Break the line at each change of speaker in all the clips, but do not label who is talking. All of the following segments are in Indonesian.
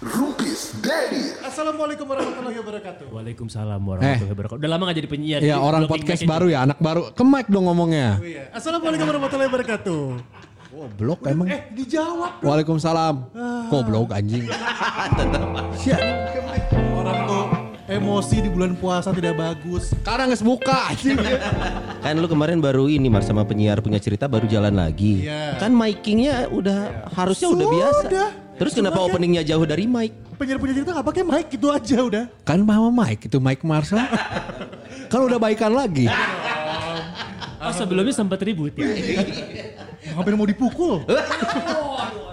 Rumpis Daddy.
Assalamualaikum warahmatullahi wabarakatuh.
Waalaikumsalam warahmatullahi wabarakatuh. Udah lama gak jadi penyiar.
Ya Eh.
jadi
orang
blocking
podcast
mic aja.
baru ya, anak baru. Ke mic dong ngomongnya.
Iya. Assalamualaikum warahmatullahi wabarakatuh.
Blok emang.
Eh, dijawab.
Waalaikumsalam. Kok blok anjing? Sia,
Orang tuh emosi di bulan puasa tidak bagus.
Karena nges buka anjing.
Kan lu kemarin baru ini Mar sama penyiar punya cerita baru jalan lagi.
Iya.
Kan micingnya udah harusnya udah
Sudah.
biasa. Terus kenapa
Sudah kan?
openingnya jauh dari mic?
Penyiar-penyiar cerita gak pakai mic gitu aja udah.
Kan mama mic itu mic Marshall. kan udah baikan lagi.
Oh sebelumnya sempat ribut ya.
Iya.
Hampir mau dipukul.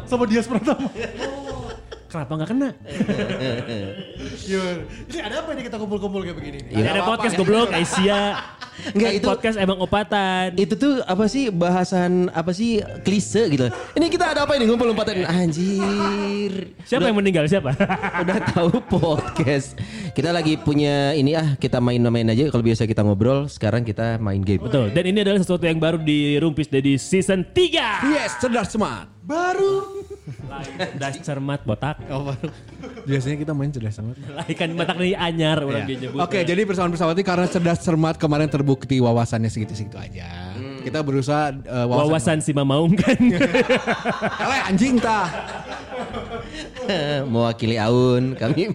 Sama dia Pratama.
Kenapa gak kena?
Iya. Ini ada apa ini kita kumpul-kumpul kayak begini?
Iya.
nih?
Ya.
ada podcast
ya.
goblok, Aisyah.
Enggak,
Kan
itu-
Podcast emang opatan.
Itu tuh apa sih bahasan apa sih klise gitu. Ini kita ada apa ini ngumpul umpatin anjir.
Siapa yang meninggal? Siapa?
Udah tahu podcast. Kita lagi punya ini ah kita main-main aja kalau biasa kita ngobrol, sekarang kita main game.
Betul. Dan ini adalah sesuatu yang baru di Rumpis dari season 3.
Yes, cerdas smart.
Baru.
Das cermat botak.
Oh, Biasanya kita main cerdas smart.
Laikan botak nih anyar orang dia nyebut.
Iya.
eh.
Oke, jadi persoalan pesawat karena cerdas cermat kemarin terbukti wawasannya segitu-segitu aja.
Hmm.
Kita berusaha eh, wawasan.
Wawasan si Mamaung kan.
Eleh, anjing tah.
Mewakili Aun kami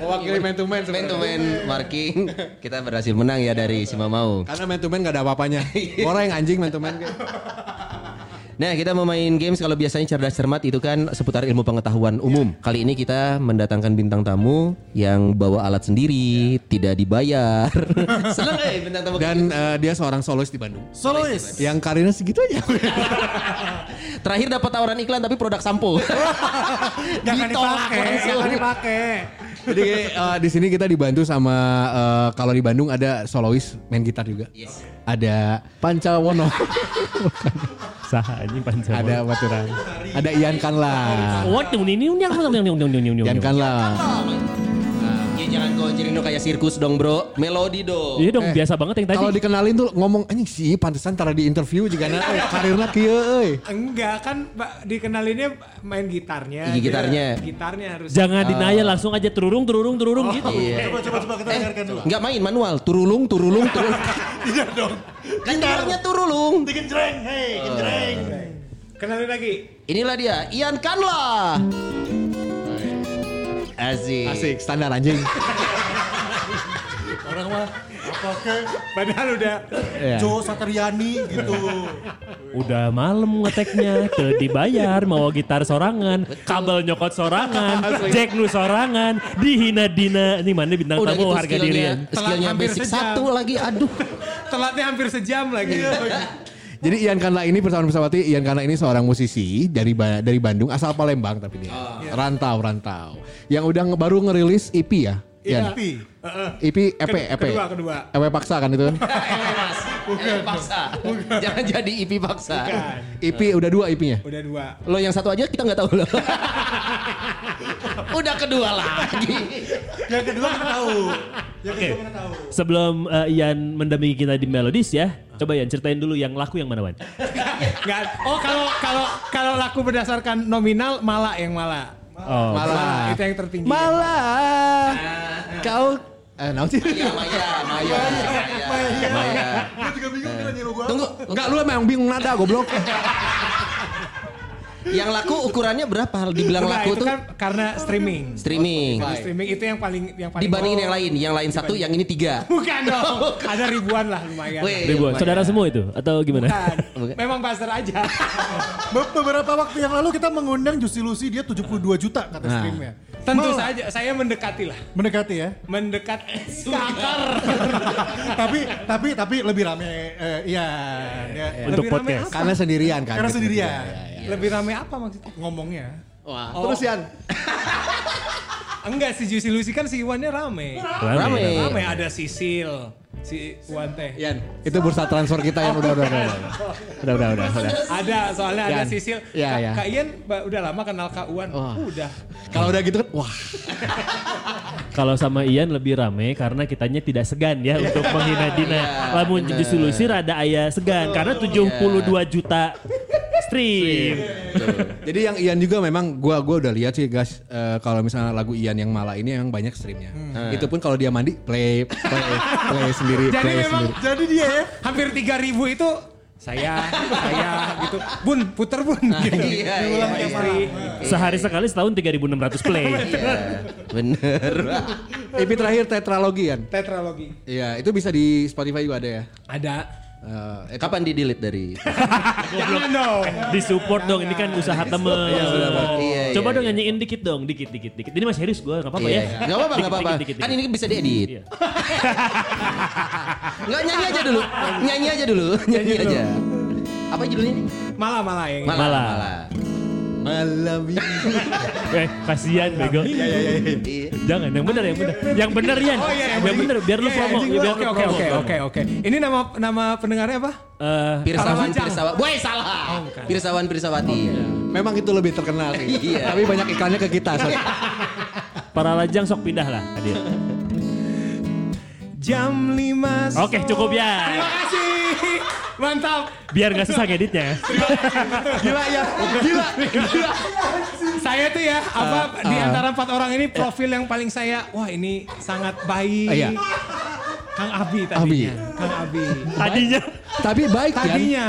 Mewakili man to man
main
sebenarnya.
to man marking kita berhasil menang ya dari si Mamau.
Karena man to man gak ada apa-apanya.
Iya.
Orang yang anjing man to man. kayak.
Nah, kita mau main games kalau biasanya cerdas cermat itu kan seputar ilmu pengetahuan umum.
Ya.
Kali ini kita mendatangkan bintang tamu yang bawa alat sendiri,
Ya.
tidak dibayar. Seneng eh bintang tamu.
Dan eh, dia seorang solois di Bandung.
Solois.
Yang karirnya segitu aja.
Terakhir dapat tawaran iklan tapi produk sampo.
Gak akan dipakai. Gak akan dipakai.
Jadi eh, di sini kita dibantu sama eh, kalau di Bandung ada solois main gitar juga. Ada Pancawono,
Saha anjing panjang.
ada Waturan, ada Ian Kanla.
What the ini ini yang yang yang yang yang
Ian
yang
Kanla.
Iya jangan kau Cirino kayak sirkus dong, Bro. Melodi dong.
Iya dong biasa banget yang tadi.
eh, Kalau dikenalin tuh ngomong anjing sih pantesan tara di interview juga na eh, karirna kieu euy.
Enggak kan Mbak, dikenalinnya main gitarnya.
Iya, gitarnya.
Jadi, Gitarnya harus.
Jangan
Ah.
dinaya langsung aja terurung terurung terurung
Oh,
gitu.
Iya.
Coba-coba coba kita dengarkan dulu.
Enggak main manual, turulung, turulung, turulung. Kan
Iya dong.
Gitarnya turulung.
Digenjreng,
Oh.
hei, genjreng.
Kenalin lagi.
Inilah dia, Ian Kanla. Asik.
Asik standar anjing.
Orang mah apa ke?
Padahal udah
Iya.
Jo Satriani gitu.
Udah malam ngeteknya, teu dibayar, mau gitar sorangan, kabel nyokot sorangan, jack nu sorangan, dihina dina. Ini mana bintang
Udah
tamu
gitu
harga diri.
skillnya, skillnya
Telat hampir
basic
sejam.
satu lagi, aduh.
telatnya hampir sejam lagi.
Iya.
Jadi Ian Kanla ini persoalan pesawati Ian Kanla ini seorang musisi dari Ba- dari Bandung asal Palembang tapi dia
Ah.
rantau rantau. Yang udah nge- baru ngerilis EP ya. Ian. E
Tapi
EP EP EP.
kedua, kedua.
EP paksa kan itu.
Eh, Mas, paksa. Jangan jadi IP paksa.
EP E udah dua EP-nya.
udah dua.
Lo yang satu aja kita nggak tahu lo. Udah kedua lagi.
yang kedua kita tahu. Yang kedua kita tahu.
Sebelum eh, Ian mendampingi kita di Melodis
Ah.
ya, coba Ian ceritain dulu yang laku yang mana Wan.
Enggak. Oh kalau kalau kalau laku berdasarkan nominal malah yang malah.
Oh,
Malah.
Itu yang tertinggi.
Malah. Ah, Kau eh naon sih?
Ya, Maya, Maya, Maya,
Gue
Maya.
Nah.
juga bingung dia nyuruh gua.
Tunggu,
Enggak lu emang bingung nada goblok.
yang laku ukurannya berapa? Dibilang
Nah,
laku
itu
tuh
kan karena streaming.
streaming.
Karena streaming itu yang paling yang paling
Dibandingin
oh,
yang lain, yang lain satu, yang ini tiga.
Bukan dong. Ada ribuan lah lumayan.
Weh,
ribuan.
lumayan.
Saudara semua itu atau gimana?
Bukan. Memang pasar aja.
Be- Beberapa waktu yang lalu kita mengundang Juicy Lucy dia 72 juta kata streamnya.
Nah. Tentu
Malah.
saja saya mendekati lah.
Mendekati ya.
Mendekat Kakar.
tapi tapi tapi lebih rame eh, iya ya.
Untuk
Lebih rame
podcast.
apa?
Karena sendirian kan.
Karena
gitu.
sendirian.
Lebih rame apa maksudnya? Ngomongnya.
Wah.
Terus Ian.
Enggak si Juicy Lucy kan si Iwannya rame.
Rame.
Iya.
Rame ada Sisil. si Wan teh.
Yan, itu bursa transfer kita yang udah udah udah. Udah udah udah. udah.
Ada soalnya ada
Yan.
Sisil.
Iya,
Ya,
Kak-
ya.
Kak Ian ba- udah lama kenal Kak Wan.
Wah.
Udah.
Kalau udah gitu kan, wah.
Kalau sama Ian lebih rame karena kitanya tidak segan ya untuk menghina Dina.
Iya,
Lamun jadi solusi rada ayah segan karena 72
iya.
juta stream.
Jadi yang Ian juga memang gua gua udah lihat sih guys eh, kalau misalnya lagu Ian yang malah ini emang banyak streamnya. Itu pun kalau dia mandi play play play sendiri
Jadi
play
memang
sendiri.
jadi dia ya hampir 3000 itu saya saya gitu. Bun puter bun
Nah.
gitu.
Iya, iya,
Diulang tiap
iya.
hari.
Sehari sekali setahun 3600 play.
Iya, bener.
EP terakhir tetralogi Ian.
Tetralogi.
Iya, itu bisa di Spotify juga ada ya.
Ada.
Eh, itu-
Kapan di delete dari?
Jangan dong.
Eh, Disupport dong ini kan usaha temen.
Iya,
Coba
iya,
dong
iya.
nyanyiin dikit dong, dikit dikit dikit. Ini masih serius gua enggak apa-apa
Iya,
ya.
nggak apa-apa, nggak apa-apa.
Dikit, dikit,
Kan
dikit,
ini
dikit.
bisa diedit.
Iya.
Nggak nyanyi aja dulu, nyanyi aja dulu, nyanyi aja. Apa judulnya? ini?
Malah malah yang
Malam.
Malam.
Malam. Malam.
Eh, kasihan bego.
Iya.
Jangan, yang benar yang benar. Yang benar Ian.
Oh iya,
Yang benar Ya, biar lu
Iya, iya,
promo,
anjing
biar
gua.
lu
Oke oke
promo.
oke oke oke. Ini nama nama pendengarnya apa?
Eh,
Pirsawan,
Parahujang.
Pirsawan. Woi salah. Pirsawan, Pirsawati.
memang itu lebih terkenal sih.
Iya.
Tapi banyak iklannya ke kita. so.
para lajang sok pindah lah hadir.
Jam 5.
Oke, cukup ya.
Terima kasih. Mantap.
Biar gak susah ngeditnya.
Gila ya. Gila. Gila. Saya tuh ya
Ah,
apa di antara empat orang ini profil yang paling saya wah ini sangat baik.
Iya.
Kang Abi tadinya. Kang Abi.
Tadinya
Tapi baik kan?
Tadinya.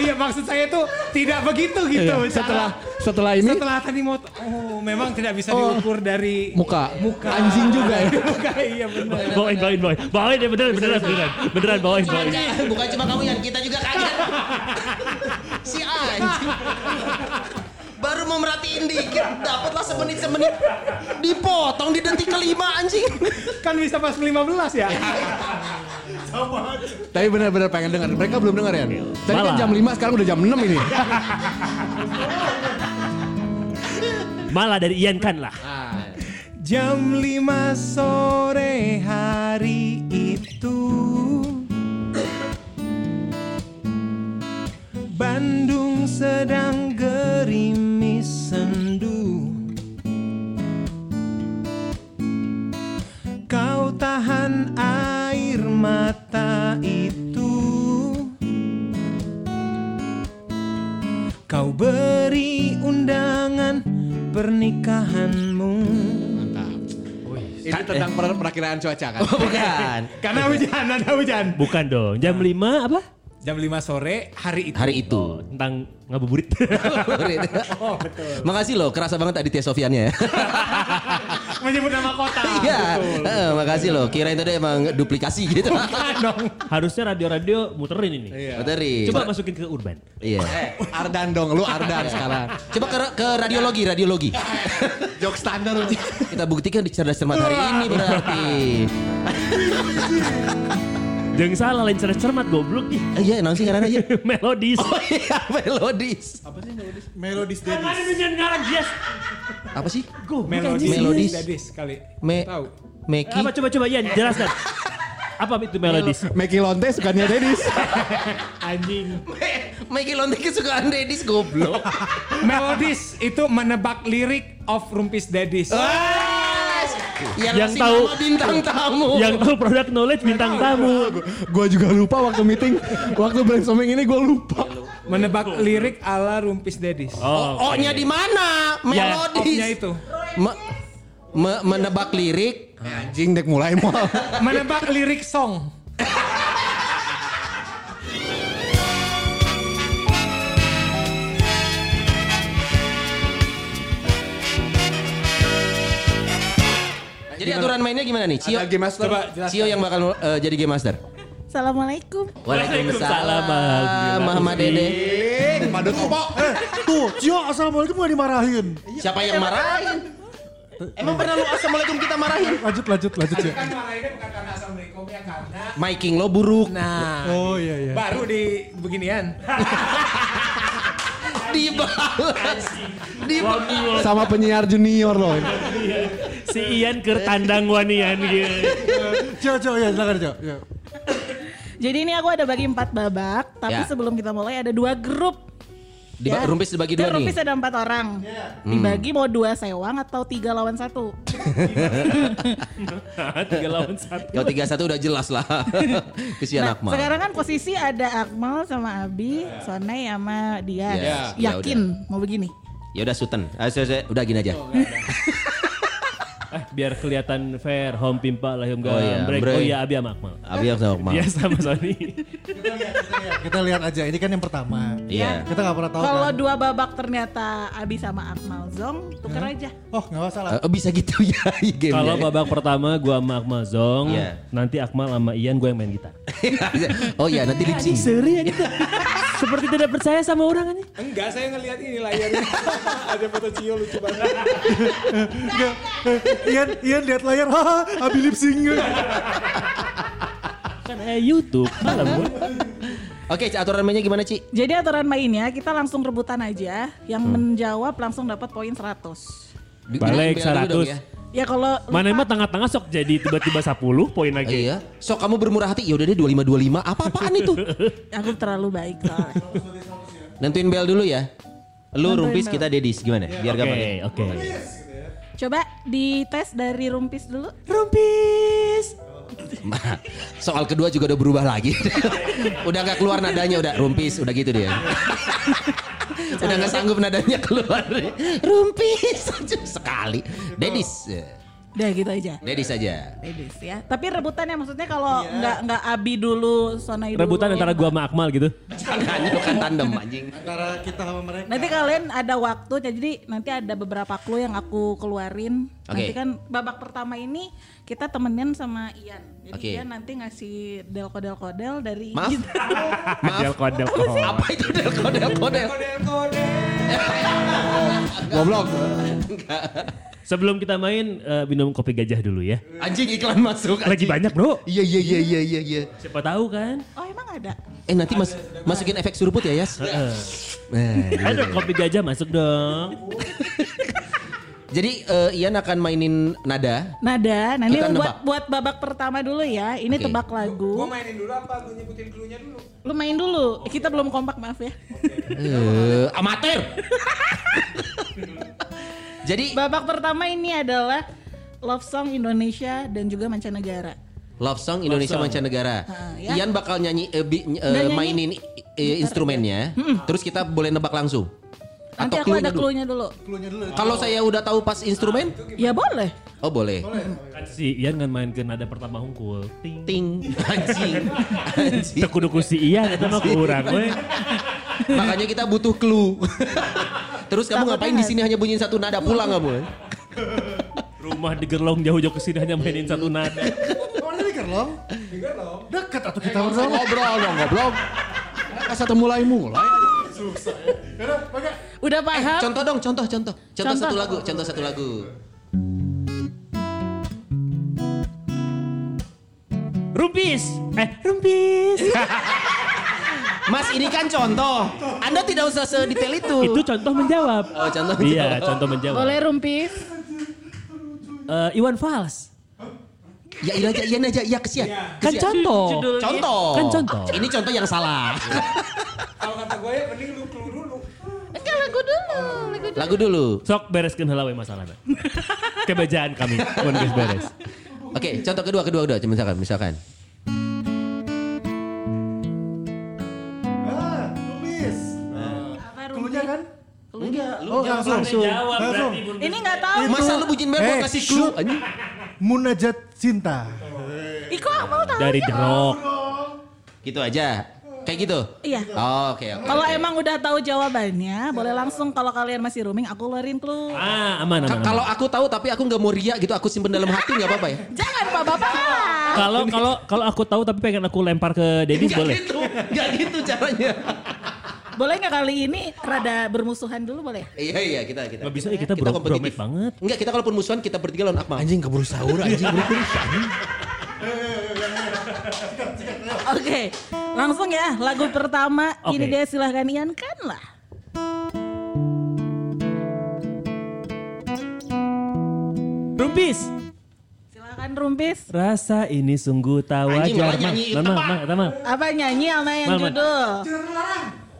Iya maksud saya tuh tidak begitu gitu.
Iya,
cara-
setelah setelah ini
setelah tadi mau oh memang tidak bisa diukur dari
muka
muka
anjing juga ya.
muka iya benar.
bawain bawain bawain. Bawain ya beneran beneran beneran. Beneran bawain bawain.
Jangan, Bukan cuma kamu yang kita juga kaget. si anjing. Baru mau merhatiin dikit, dapatlah semenit-semenit. Dipotong di detik kelima anjing.
Kan bisa pas ke 15 ya.
Iya. Tapi benar-benar pengen dengar. Mereka belum dengar ya. Tadi kan
Malah.
jam 5 sekarang udah jam 6 ini.
Malah dari Ian kan lah.
Jam 5 sore hari itu Bandung sedang gerimis sendu Kau tahan air mata itu Kau beri undangan pernikahanmu.
Ini tentang per- perakiraan cuaca kan.
Oh, Bukan.
Karena hujan, ada hujan.
Bukan dong. Jam 5 apa?
Jam 5 sore hari itu.
Hari itu.
Tentang ngabuburit.
oh, betul. Makasih loh, kerasa banget tadi Tia Sofiannya ya.
Menyebut nama kota.
Iya, heeh, makasih loh. Kirain tadi emang duplikasi gitu.
Harusnya radio-radio muterin ini.
Iya. Materi.
Coba masukin ke urban.
Iya.
Iya. Eh, Ardan dong, lu Ardan sekarang.
Coba ke, ke radiologi, radiologi.
Jok standar. lu.
Kita buktikan di cerdas cermat hari ini berarti.
Jangan salah lain cermat goblok ih.
Eh, Iya, nanti karena iya.
Melodis.
Oh iya, melodis.
Melodis
Apaan ini yang ngarang yes.
Apa sih?
Uh,
Melodis.
Melodis.
Melodis kali.
Me
Tahu.
Meki.
Apa coba coba Ian jelaskan. Apa itu melodis?
Meki Lonte sukanya Dedis.
Anjing.
Me- Meki Lontek kesukaan Dedis goblok.
Melodis itu menebak lirik of Rumpis Daddies.
Ah.
Wes, Yang,
Yang
ngasih
tahu-
nama bintang tamu.
Yang tahu produk knowledge bintang tamu.
gua juga lupa waktu meeting, waktu brainstorming ini gua lupa.
Menebak lirik ala Rumpis Daddies.
Oh, nya di mana?
Ya,
Melodis.
Of-nya itu.
Me- me- menebak lirik.
Eh, Anjing dek mulai mau.
Menebak lirik song.
Jadi aturan mainnya gimana nih? Cio,
Ada game master.
Coba
Cio yang bakal eh, jadi game master.
Assalamualaikum.
Waalaikumsalam, Alhamdulillah.
Eh, Muhammad Dede.
Madut opo.
Eh, Tuh, Cio assalamualaikum gak dimarahin.
Siapa yang marahin? Emang pernah lu assalamualaikum kita marahin?
Iya.
Lanjut, lanjut, lanjut Cio.
Kan marahinnya bukan karena Assalamualaikum ya karena.
Miking lo buruk.
Nah.
Oh iya iya.
Baru di beginian.
Dibalas. Dibalas.
Sama penyiar junior loh.
Si Ian ke tandang wanian gitu.
Coba, coba, ya silakan coba. Ya.
Jadi ini aku ada bagi empat babak, tapi
Ya.
sebelum kita mulai ada dua grup.
Di- Ya. rumpis dibagi
Jadi
dua nih.
Rumpis ada empat orang. Dibagi mau dua sewang atau tiga lawan satu.
Tiga lawan satu.
Kalau tiga satu udah jelas lah. Kesian
Nah,
Akmal.
sekarang kan posisi ada Akmal sama Abi, Sonai sama Dian.
Ya, ya
Yakin mau begini?
Ya udah Sultan. Ah, saya- saya- udah gini aja.
Eh, biar kelihatan fair. Home pimpa lah home
Oh iya,
gambreng.
Breng.
Oh iya, abi sama Akmal.
Abi yang sama Akmal.
Iya sama Sony.
Iya, Kita lihat aja, ini kan yang pertama.
Iya.
Kita nggak pernah tahu
Kalau
kan.
dua babak ternyata Abi sama Akmal zong, tuker
Hmm.
aja.
Oh nggak masalah.
Eh, bisa gitu ya game
Kalau babak pertama gua sama Akmal Zong,
Iya.
nanti Akmal sama Ian gua yang main gitar.
oh iya nanti licin.
Seri aja. Seperti tidak percaya sama orang aja.
Enggak, saya ngelihat ini layarnya. Ada foto Cio lucu banget.
Nggak. Iya. Eh, Ian, Ian lihat layar, haha, Abi lip sync.
Kan eh, YouTube malam gua.
Oke, Ci, aturan mainnya gimana, Ci?
Jadi aturan mainnya kita langsung rebutan aja, yang
Hmm.
menjawab langsung dapat poin 100.
Bi-
Balik
bilang dulu dong
100.
ya.
Ya kalau
Mana emang
lupa-
tengah-tengah sok jadi tiba-tiba 10
Eh,
poin lagi.
Iya. Sok kamu bermurah hati. Ya udah deh 25 25. Apa-apaan itu?
aku terlalu baik soalnya.
Nentuin bel dulu ya. Lu
Nentuin
rumpis
bel. Iya.
kita dedis gimana? Biar
Oke,
gampang. ya?
oke.
Coba dites dari rumpis dulu.
Soal kedua juga udah berubah lagi. udah nggak keluar nadanya udah rumpis udah gitu dia. udah nggak sanggup nadanya keluar. Rumpis sekali. Dedis.
Udah gitu aja.
Dedis aja.
Ladies ya. Tapi rebutannya maksudnya kalau
Iya.
nggak nggak Abi dulu, Sonai dulu.
Rebutan
ya.
antara gua sama Akmal gitu.
Jangan bukan tandem anjing.
Antara kita sama mereka.
Nanti kalian ada waktu, jadi nanti ada beberapa clue yang aku keluarin. Nanti
Oke.
kan babak pertama ini kita temenin sama Ian. Jadi
Oke.
Ian nanti ngasih delkodel-kodel dari
Maaf.
Kodel kodel kodel.
Apa itu del kodel kodel?
Goblok.
Sebelum kita main eh, minum kopi gajah dulu ya.
Anjing iklan masuk.
Lagi
Anjing.
banyak, Bro.
Iya iya iya iya iya iya.
Siapa tahu kan?
Oh emang ada?
Eh nanti mas masukin efek suruput ya Yas. Nah, gitu
Ada
deh.
Eh, kopi gajah masuk dong.
Jadi eh, Ian akan mainin nada.
Nada, nanti
Kita
buat
nebak.
buat babak pertama dulu ya. Ini
Oke.
tebak lagu.
Gue mainin dulu apa? Gue nyebutin clue-nya dulu.
Lu main dulu. Kita belum kompak, maaf ya.
Eh, amatir. Jadi
babak pertama ini adalah love song Indonesia dan juga mancanegara.
Love Song Indonesia Mancanegara.
Heeh, ya.
Ian bakal nyanyi eh, bi- eh,
nyanyi. Hmm.
mainin i- eh, instrumennya. Terus kita boleh nebak langsung.
Nanti
Atau
aku
clue-nya
ada
dulu.
clue-nya dulu.
Kalau saya udah tahu pas instrumen,
Ya boleh.
oh boleh.
Kan si Ian kan main ke nada pertama hungkul. Ting.
Ting anjing. anjing.
Tekuduku si Ian itu iya, mah kurang we.
Makanya kita butuh clue. Terus kamu
Takutnya
ngapain di
nggak-
sini hanya bunyiin satu nada pulang kamu?
Rumah digerlong jauh-jauh ke sini hanya mainin satu nada.
Oh ini Gerlong? Dekat atau kita bersama?
Ngobrol dong, goblok. Asa mulai mulai.
Udah paham?
Eh, Contoh dong, contoh, contoh. Contoh,
Contoh.
satu lagu, contoh satu lagu.
Rumpis. Eh, rumpis.
Mas ini kan contoh. Anda tidak usah sedetail itu.
Itu contoh menjawab.
Oh, contoh
Iya,
menjawab.
contoh menjawab.
boleh rumpis.
Eh, Iwan Fals.
Ya iya aja, iya aja, iya kesian.
Kan
Kesian.
contoh.
Contoh.
Kan contoh.
Ini contoh yang salah.
Kalau kata gue ya mending lu clue dulu.
Enggak lagu dulu, lagu dulu.
Lagu dulu.
Sok bereskan halawe masalahnya. Kebajaan kami. Mohon guys beres.
Oke, contoh kedua, kedua, kedua. Misalkan, misalkan.
Ah, Rumpis.
Apa
Clue-nya kan?
Cluenya.
Oh langsung.
Langsung jawab
Langsung.
berarti Bun.
Ini nggak tahu.
Masa lu bujin bel
Eh,
mau kasih clue?
shoot.
anjing?
Munajat cinta.
Iko mau tahu.
Dari The Rock.
Gitu aja. Kayak gitu.
Iya.
Oh, oke, oke.
Kalau emang udah tahu jawabannya, boleh langsung kalau kalian masih roaming aku luarin clue.
Ah, aman aman.
Ka-
aman.
Kalau aku tahu tapi aku nggak mau ria gitu, aku simpen dalam hati nggak apa-apa ya?
Jangan Pak Bapak.
kalau kalau kalau aku tahu tapi pengen aku lempar ke Dennis
Nggak
boleh.
gitu, nggak gitu caranya.
Boleh nggak kali ini rada bermusuhan dulu boleh?
Iya iya kita kita.
Gak bisa eh, kita, bro,
kompetitif.
bromate banget.
Enggak kita kalaupun musuhan kita bertiga lawan Akmal.
Anjing keburu sahur,
Iya.
anjing keburu kurus.
Oke, langsung ya lagu pertama
Oke.
ini dia silahkan Ian kan lah.
Rumpis.
Silahkan Kan rumpis.
Rasa ini sungguh tak
Anjing,
wajar.
malah nyanyiin
Mang, mang, mang, mang.
Apa nyanyi sama yang
Mal, mal.
judul?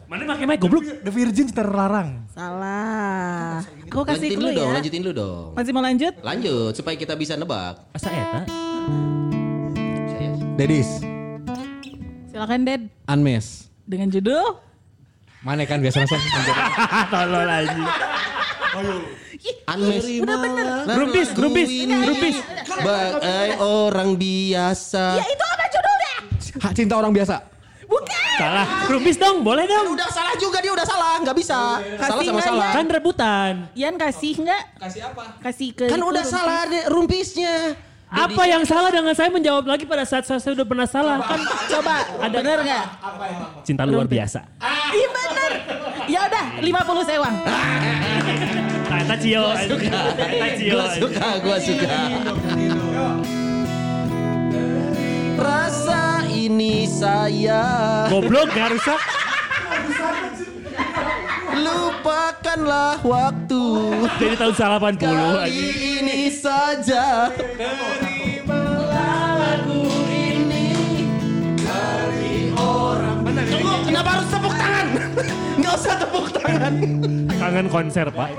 Mana pakai mic goblok?
The Virgin terlarang.
Salah. Aku
lanjutin
kasih clue
dulu dong,
ya.
lanjutin dulu dong.
Masih mau lanjut?
Lanjut supaya kita bisa nebak.
Asa eta?
Saya
Dedis,
Silakan Ded.
Anmes.
Dengan judul?
Mana kan biasa rasa.
Tolol anjing.
Anmes.
Udah bener.
Grupis, grupis, grupis.
Bagai orang biasa.
Ya itu ada judulnya.
Hak cinta orang biasa.
Bukan.
Salah. Grupis dong, boleh dong.
Udah salah juga dia udah salah, nggak bisa. Iya, Salah sama
Kasih
salah.
nggak
Kan rebutan.
Ian kasih nggak? Kasih apa? Kasih ke
Kan
itu
udah
Iya,
rumpis.
salah deh rumpisnya.
Apa yang salah dengan saya menjawab lagi pada saat saya sudah pernah salah? Kan
Coba, ada bener nggak?
cinta luar biasa.
Iya bener. Ya udah, 50 sewang.
Tata Cio. Tata Cio.
Gua suka,
iya.
gua suka. Rasa ini saya
Goblok gak rusak.
lupakanlah waktu.
Jadi tahun 80
Kali
anjing.
ini saja.
Benar, ini
Tunggu, kenapa harus tepuk tangan? Nggak usah tepuk tangan.
Kangen konser, Pak.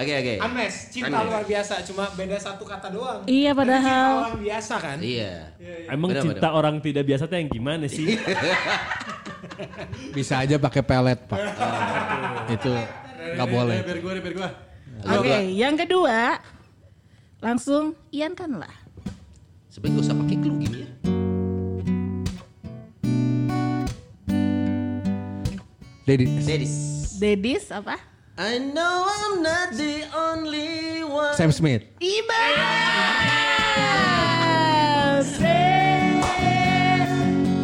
Oke, oke.
Ames, cinta
Anmes.
luar biasa, cuma beda satu kata doang.
Iya
Cinta
padahal.
orang biasa kan?
Iya.
Emang
Benar,
cinta
benar.
orang tidak biasa tuh yang gimana sih?
Bisa aja pakai pelet, Pak. Itu nggak boleh.
Biar gue, biar gue.
Oke, yang kedua. Langsung Ian kan lah.
Sebenernya gak usah pakai clue gini ya.
Dedis.
Dedis.
Dedis apa?
I know I'm not the only one.
Sam Smith.
Iba.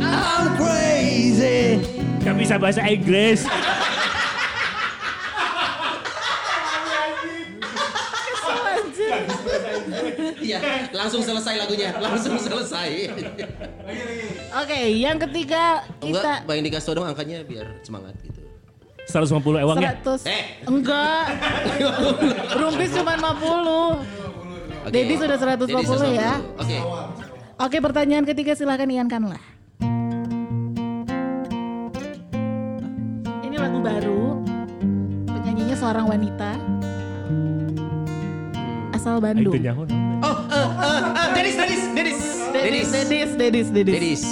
I'm crazy.
Gak bisa bahasa Inggris.
Iya, langsung selesai lagunya. Langsung selesai.
Oke, yang ketiga
Enggak,
kita
Bang Indika Sodo angkanya biar semangat gitu.
150 ewang ya?
100.
Eh.
Enggak. Rumpis cuma 50.
Oke.
Dedi sudah 150
Dedi sudah
ya.
150. Oke.
Oke, pertanyaan ketiga silahkan Ian kan lah. Ini lagu baru. Penyanyinya seorang wanita.
Itu
Asal Bandung.
nyahun.
Oh, eh, eh, eh, Dedis, Dedis, Dedis.
Dedis, Dedis, Dedis, Dedis.
Dedis.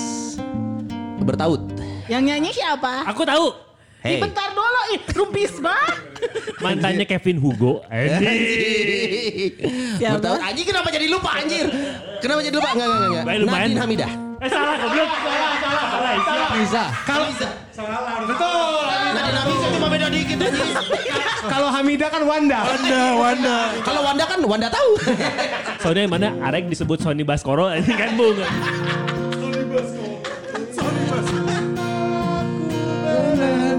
Bertaut.
Yang nyanyi siapa?
Aku tahu.
Ih, Bentar dulu, ih, rumpis banget.
Mantannya Kevin Hugo. Anjing.
Siapa?
Bertaut. Anjing kenapa jadi lupa anjir? Kenapa jadi lupa? Enggak, enggak, enggak.
Baik, lumayan.
Nadine Hamidah.
Eh salah goblok. Salah, salah, salah. Salah.
Bisa.
Kalau salah, betul.
Nadine Hamidah cuma beda dikit aja.
Kalau Hamida kan Wanda. Wanda, Wanda.
Kalau Wanda kan Wanda tahu.
Soalnya yang mana Arek disebut Sony Baskoro ini kan bung.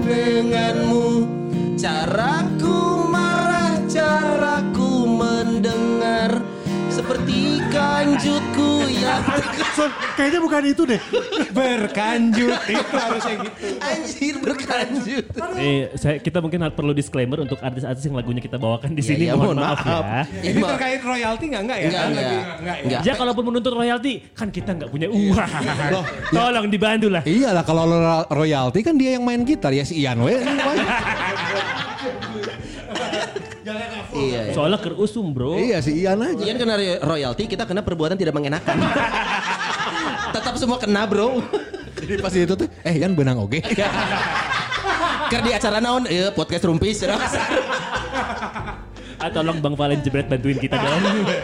denganmu Caraku marah, caraku mendengar Seperti kanjutku yang
Kayaknya bukan itu deh.
Berkanjut. Itu harusnya gitu.
anjir berkanjut
Eh, saya, kita mungkin harus perlu disclaimer untuk artis-artis yang lagunya kita bawakan di
Iya,
sini.
iya, mohon
mohon ya, maaf,
maaf. Iya.
ya.
Ini terkait royalti nggak nggak ya?
Enggak, enggak.
Enggak, ya?
Enggak.
Ya kalaupun menuntut royalti kan kita nggak punya uang.
Iya.
Tolong dibantu lah.
Iyalah kalau lo ro- royalti kan dia yang main gitar ya si Ian we.
Iya, iya.
Soalnya kerusum bro.
iya si Ian aja.
Ian kena roy- royalti, kita kena perbuatan tidak mengenakan. Tetap semua kena bro.
Jadi pas itu tuh eh Ian benang oke.
Iya.
Ker di acara naon, ya podcast rumpis.
Ah, tolong Bang Valen Jebret bantuin kita dong.
Iya.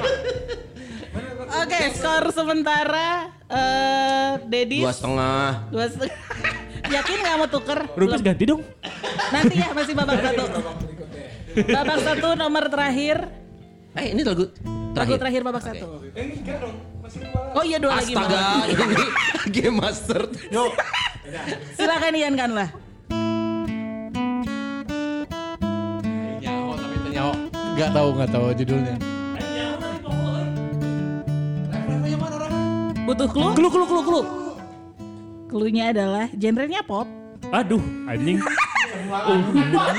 Oke, skor sementara eh Dedis
Dua setengah.
dua setengah. Yakin nggak mau tuker?
Rumpis
Belum.
ganti dong.
Nanti ya masih babak satu. babak satu nomor terakhir.
Eh ini lagu
Lagu
terakhir.
terakhir babak
Oke.
satu. Oh iya dua lagi.
Astaga,
malah.
ini game master.
Silakan Ian kan lah.
Gak tahu gak tahu judulnya.
Butuh clue? Clue, clue, clue, clue. Cluenya adalah genrenya pop.
Aduh, anjing. Uh,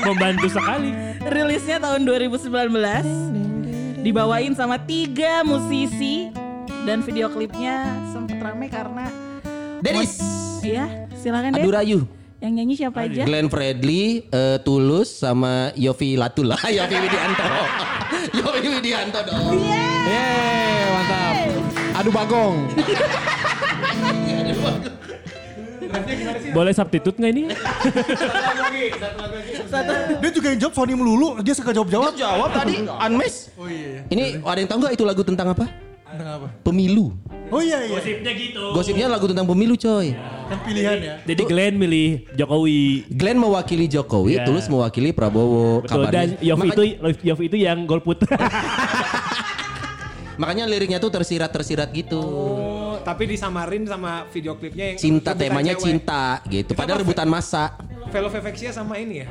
membantu sekali.
Rilisnya tahun 2019. Dibawain sama tiga musisi Dan video klipnya sempet rame karena
Dennis.
Iya, silakan deh.
Adurayu.
Yang nyanyi siapa aja?
Glenn Fredly, eh, Tulus sama Yofi Latula, Yofi Widianto. Yofi Widianto dong.
Yeay, mantap. Aduh bagong.
Iya,
Boleh substitute nggak ini?
Dia juga yang jawab Sony melulu, dia suka jawab-jawab.
Jawab tadi Anmes.
Oh iya.
Ini ada yang tahu nggak itu lagu tentang apa?
Tentang apa?
Pemilu.
Oh iya iya.
Gosipnya lagu tentang pemilu coy.
Kan pilihan ya.
Jadi Glenn milih Jokowi.
Glenn mewakili Jokowi,
Iya.
Tulus mewakili Prabowo.
Betul, dan
Kabarnya-
Yofi
Maka-
itu Yofi itu yang golput. Eh,
Makanya liriknya tuh tersirat-tersirat gitu.
Oh, tapi disamarin sama video klipnya yang
Cinta
rebutan
temanya
cewek.
cinta gitu. Padahal rebutan masa.
Velo Vivexia sama ini ya.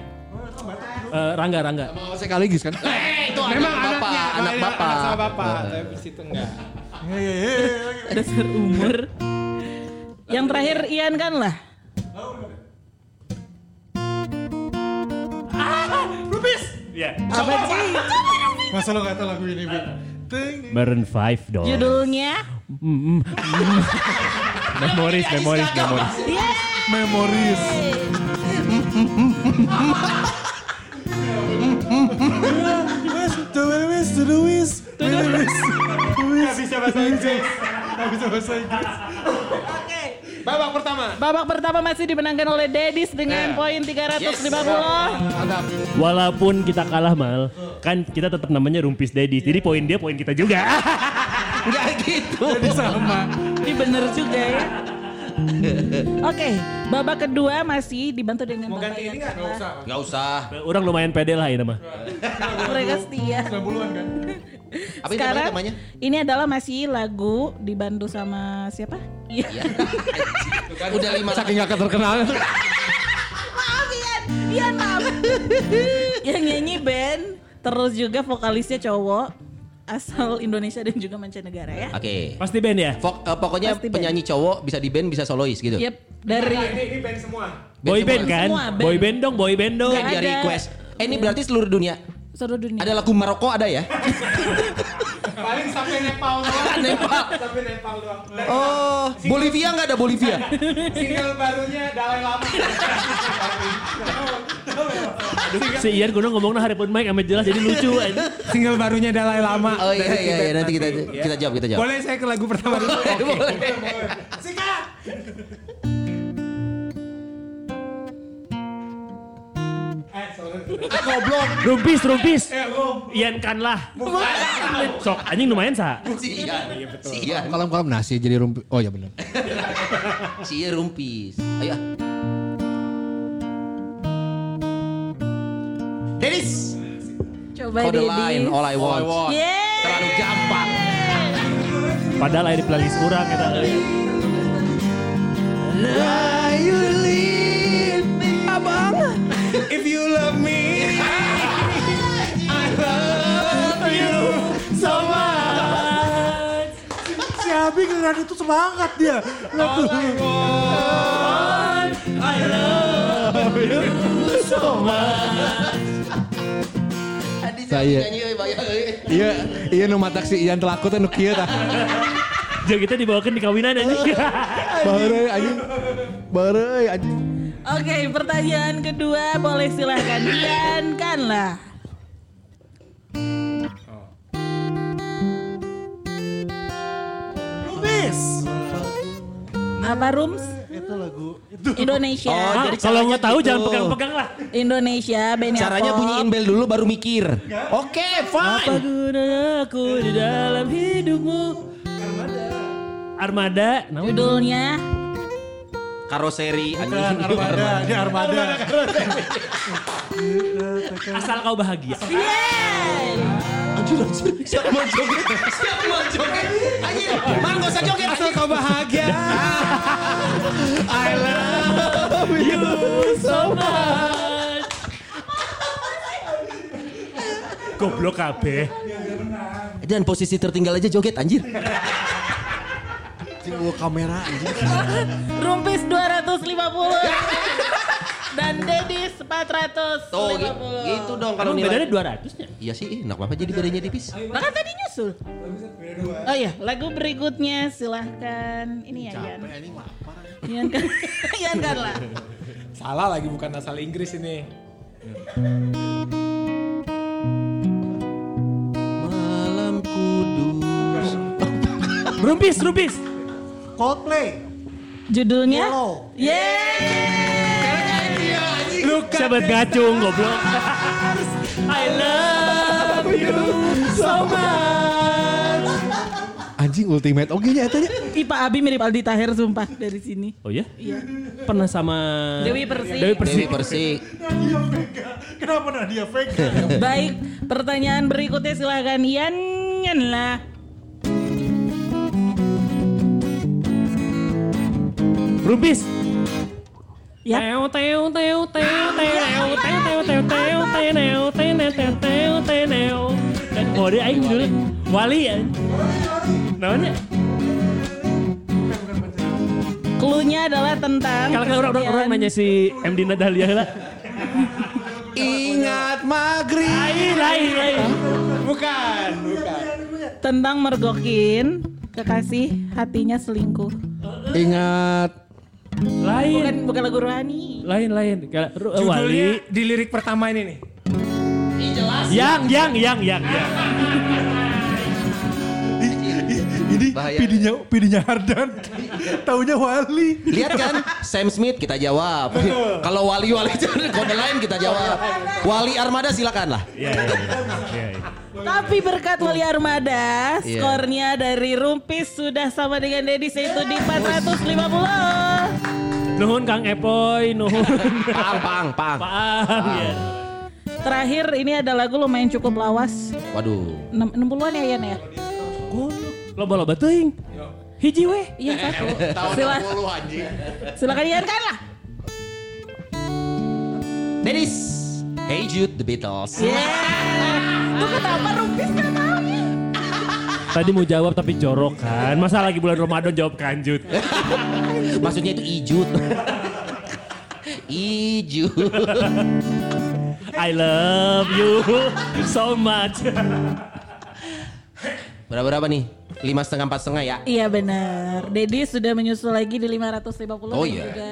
Eh, Rangga, Rangga.
Mau sekaligus kan?
Eh, itu
Memang anaknya,
anak
anak
bapak.
sama bapak. Tapi di situ enggak.
Dasar umur. Yang terakhir Ian kan lah.
Iya.
Apa sih?
Masa lo gak tau lagu ini, Bi? Ting.
Maroon 5 dong.
Judulnya?
Memories,
Iya,
memories, memories.
Yeay!
Memories. The memories to the wish. Memories. Gak bisa bahasa Inggris. Gak bisa bahasa Inggris.
Babak pertama.
Babak pertama masih dimenangkan oleh Dedis dengan poin 350.
Walaupun kita kalah mal, kan kita tetap namanya rumpis daddy. Jadi poin dia poin kita juga.
Enggak gitu.
Ini bener juga ya. Oke, babak kedua masih dibantu dengan
Mau
Bapak
ganti ini
Ian
enggak?
Karla.
Enggak usah.
Orang lumayan pede lah ini mah.
Mereka setia.
kan?
Apa ini
Sekarang
temanya?
ini adalah masih lagu dibantu sama siapa? Iya.
Udah lima
Saking gak keterkenalan.
maaf Ian, Ian maaf. Yang nyanyi band, terus juga vokalisnya cowok asal Indonesia dan juga mancanegara ya.
Oke.
Pasti band ya?
Fok- eh, pokoknya
Pasti band. Iya,
penyanyi cowok bisa di band bisa solois gitu.
Yep, dari
Ini ini band semua.
Boy band
semua.
kan?
Semua band.
Boy band dong, boy band dong.
Kan dia
ada.
request. Eh ini berarti seluruh dunia.
seluruh dunia.
Ada lagu Maroko ada ya?
Paling sampai Nepal doang.
Nepal.
Sampai Nepal doang. Dan
Oh, Bolivia nggak ada Bolivia?
Single barunya Dalai Lama.
Si Ian kuno nah, ngomongnya hari pun Mike amat jelas jadi lucu aja.
Single barunya Dalai Lama.
Oh iya iya, iya. nanti kita kita jawab kita jawab.
Boleh saya ke lagu pertama dulu?
Boleh.
Goblok. Rumpis, rumpis. Ian kan lah. Sok anjing lumayan sa.
Sian. Sian.
Kolam-kolam nasi jadi rumpi. Oh ya benar.
Sian rumpis. iya, Ayo. ah. Dennis.
Coba
Kode
Dedis.
lain all I want.
Yeay.
Terlalu gampang.
Padahal air di playlist orang kita.
If you love me, I love you so much.
Si Abi ngeran itu semangat dia. Lihat tuh.
Saya. Iya, iya nu matak si Ian telakut nu kieu tah.
Jadi kita dibawakan di kawinan anjing.
Bareuy anjing. Bareuy anjing.
Oke, pertanyaan kedua boleh silahkan Ian kan lah.
Rumis.
Apa Rooms?
Itu lagu.
Indonesia.
Oh, jadi
Kalau nggak tahu
gitu.
jangan pegang-pegang lah.
Indonesia, Benny
Caranya
Apok.
bunyiin bel dulu baru mikir. Oke,
Apa
fine.
gunanya aku di dalam hidupmu? Armada. Armada. Namun
Judulnya
Karoseri
Dan
anjing.
Armada. Dia Armada.
asal kau bahagia.
Yeay!
Siap mau joget. Siap mau joget. Anjing, Mang gak usah joget.
Asal kau bahagia.
Goblok kabeh.
Dan posisi tertinggal aja joget anjir.
Rumpis 250 dan Dedis 450.
Tuh, gi- gitu dong kalau
Emang
nilai.
bedanya 200 ya?
Iya sih, enak banget jadi bedanya tipis.
Lah kan tadi nyusul. Oh iya, lagu berikutnya silahkan. Ini ya Yan. Yan kan, Yan kan lah.
Salah lagi bukan asal Inggris ini.
Malam kudus.
Rumpis, rumpis.
Coldplay.
Judulnya?
Yellow.
Yeay!
Sahabat gacung goblok. I love you so much.
Anjing ultimate oke ya, nya eta nya.
Ipa Abi mirip Aldi Taher sumpah dari sini.
Oh ya? Pernah sama
Dewi Persik.
Dewi Persik.
Dewi Persik.
Nadia Iya, Vega. Kenapa Nadia Vega?
Baik, pertanyaan berikutnya silahkan Yan Yan lah.
Rumpis.
Ya.
Teo teo teo teo teo teo teo teo teo teo teo teo teo teo teo teo. Oh dia aing dulu. Wali ya. Namanya?
Cluenya adalah tentang
Kalau kalau orang orang nanya si M Dina Dahlia lah.
Ingat maghrib.
Lain lain lain.
Bukan, bukan.
tentang mergokin kekasih hatinya selingkuh.
Ingat
Lain
Bukan bukan lagu rohani.
lain lain. Kalau Ru- eh, Wali.
Judulnya di lirik pertama ini nih.
Yang yang yang yang yang.
Ini
Bahaya.
pidinya pidinya Hardan. Taunya Wali.
Lihat kan Sam Smith kita jawab. Kalau Wali Wali kode lain kita jawab. Wali Armada silakan lah.
Iya iya iya. iya.
Tapi berkat Wali Armada,
Iya.
skornya dari Rumpis sudah sama dengan Dedis yaitu di 450.
Nuhun Kang Epoy, nuhun.
Pang pang pang.
Paham ya.
Terakhir ini ada lagu lumayan cukup lawas.
Waduh.
Enam- 60-an ya Yan ya?
Loba-loba teuing. Hiji weh.
Eh,
Iya satu. Sila, silakan Yan kan lah.
Dennis. Hey Jude The Beatles.
Tuh kenapa Rumpis gak mau ya?
Tadi mau jawab tapi jorok kan. Masa lagi bulan Ramadan jawab kanjut.
Maksudnya itu E, Ijut. Ijut.
I love you so much.
Berapa-berapa nih? Lima setengah empat setengah ya?
Iya benar. Dedi sudah menyusul lagi di 550
Oh,
dan
iya.
juga.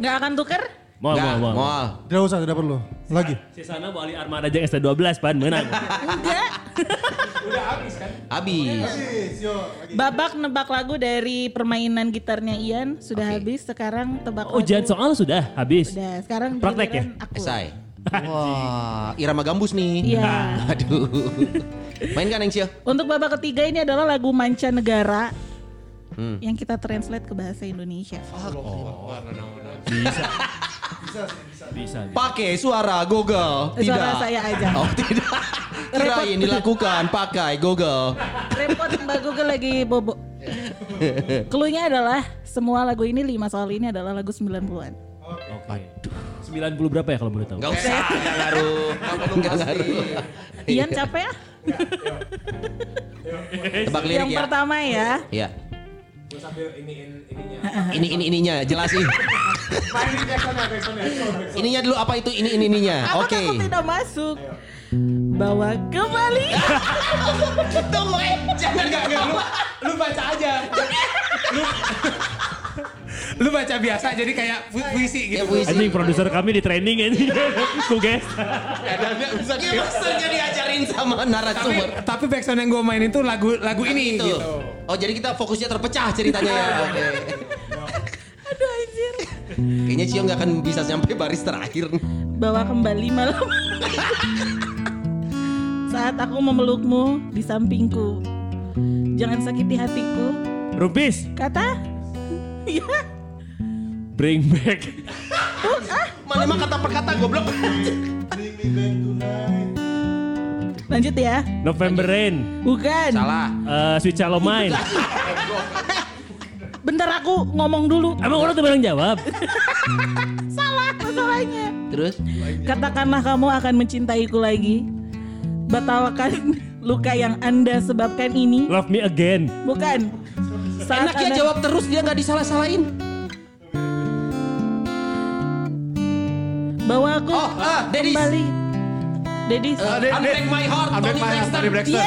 Nggak akan tuker?
Mau,
Nggak,
mau, mau.
Mual.
Tidak usah, tidak perlu. Lagi.
Sisana Wali Armada aja ST12 pan menang.
Enggak.
Habis.
Babak nebak lagu dari permainan gitarnya Ian sudah
Oke.
habis. Sekarang tebak
Ujian
lagu.
soal sudah habis.
Udah, sekarang
Oh, Praktek
giliran
ya?
Aku.
Esai. Wah, irama gambus nih.
Iya.
Nah.
Aduh. Main kan Engsio?
Untuk babak ketiga ini adalah lagu mancanegara
Hmm. Oh,
yang kita translate ke bahasa Indonesia.
Bisa.
Pakai suara Google. Tidak.
Suara saya aja.
Oh tidak. Kirain dilakukan pakai Google.
Repot Mbak Google lagi bobo. Cluenya adalah semua lagu ini lima soal ini adalah lagu 90-an.
Oke. 90 berapa ya kalau boleh tahu?
Gak usah, gak ngaruh. Gak ngaruh. Iya.
Ian capek ya?
Tebak lirik
Yang
ya.
pertama ya.
Iya. Ini ini ininya jelasin.
ya.
ininya dulu apa itu ini ini ininya.
Aku
Nah, Oke.
takut tidak masuk. Bawa kembali.
Tunggu, eh, jangan gak
Lu, lu baca aja. Lu, lu baca biasa jadi kayak pu- puisi
Ya
gitu.
puisi.
Anjing produser kami di training ini. Kuges.
Dia maksudnya diajarin sama
Tapi,
narasumber.
tapi backsound yang gue main itu lagu lagu ini
Itu.
gitu. Iya.
Oh jadi kita fokusnya terpecah ceritanya ya. Oke.
Aduh anjir.
Kayaknya Cio nggak akan bisa sampai baris terakhir.
Bawa kembali malam. Saat aku memelukmu di sampingku. Jangan sakiti hatiku.
Rumpis,
Kata? Ya.
bring back.
Mana emang kata per kata goblok.
Lanjut ya.
November Rain,
Bukan.
Salah.
Eh, Sweet Child O' Mine.
Bentar aku ngomong dulu.
Emang orang tuh bareng jawab?
Salah masalahnya.
Terus
Katakanlah kamu akan mencintaiku lagi. Batalkan luka yang Anda sebabkan ini.
Love Me Again.
Bukan. Saat
enaknya
Anda-
jawab terus dia nggak disalah-salahin.
Bawa aku
Oh, ah, Dedis. Eh,
kembali. Deddy.
Unbreak my heart, Tony Braxton.
Tony Braxton.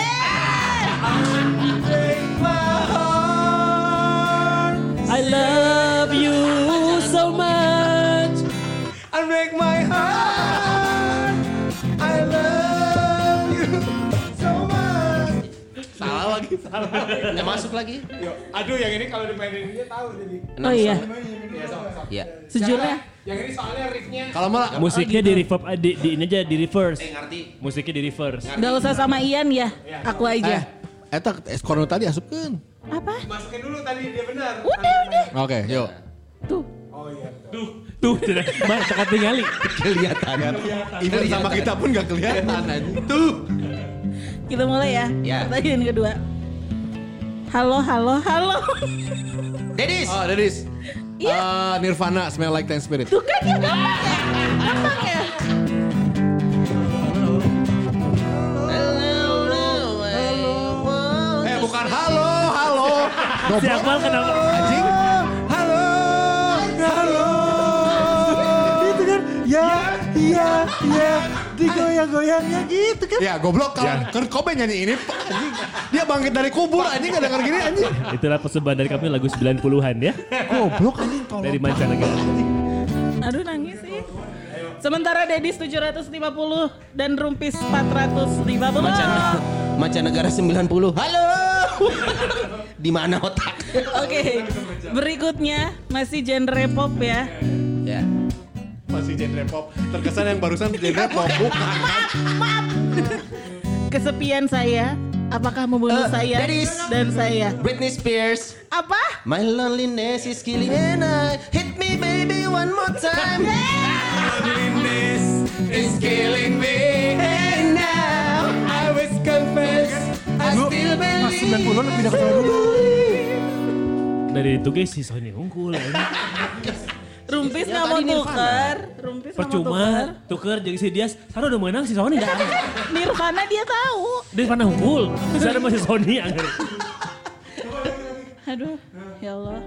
I love you so much.
Unbreak my heart. I love you so much.
Salah lagi, salah. Nggak masuk lagi.
Yo, aduh yang ini kalau dimainin dia tahu jadi.
Oh iya,
Ya.
sejurnya.
Yang ini soalnya riffnya.
Kalau malah
Musiknya di reverb, ah, di, di ini aja di reverse.
Ngerti.
Musiknya di reverse.
Gak usah sama Ian ya,
Iya.
aku
eh
aja.
eta es korno tadi kan? asupkeun.
Apa?
Masukin dulu tadi dia benar.
Udah, udah.
Oke, yuk.
Tuh.
Tuh, tidak. Mbak, tekat ningali.
Kelihatan.
Even sama kita pun gak kelihatan. Tuh.
Kita mulai ya.
Iya.
Ya.
Pertanyaan kedua. Halo, halo, halo.
Dedis.
Oh, Dedis. Ah, Nirvana, Smell Like Teen Spirit. Eh,
Tuh kan ya gampang ya. Gampang ya.
Eh, bukan halo, halo.
Siapa kenapa?
Anjing.
Halo, halo. Gitu kan? Ya, iya, iya. Digoyang-goyangnya gitu kan?
Ya goblok kalau Kurt Cobain nyanyi ini Pak, anjing. dia bangkit dari kubur anjing gak denger gini anjing.
Itulah persembahan dari kami lagu 90-an ya.
Goblok anjing tolong.
Dari mancanegara.
Aduh nangis sih. Sementara Dedis 750 dan Rumpis 450.
Macan Macanegara 90. Halo. Di mana otak?
Oke, berikutnya masih genre pop ya.
Ya.
Masih genre pop. Terkesan yang barusan genre pop bukan.
Kesepian saya, apakah membunuh
Eh,
saya
Dedis.
dan saya?
Britney Spears.
Apa?
My loneliness is killing and I hit me baby one more time.
Loneliness is killing me. And now I was confessed. I still believe.
90-an pindah ke sana dulu.
Dari itu guys, si Sony unggul. ya. anjing.
Rumpis nggak mau tuker. Rumpis nggak mau tuker.
Percuma, tuker jadi si Dias. Sana udah menang si Sony.
Nirvana dia tahu.
Dia pernah unggul. Sana masih Sony. ya. anjing.
Aduh, ya Allah.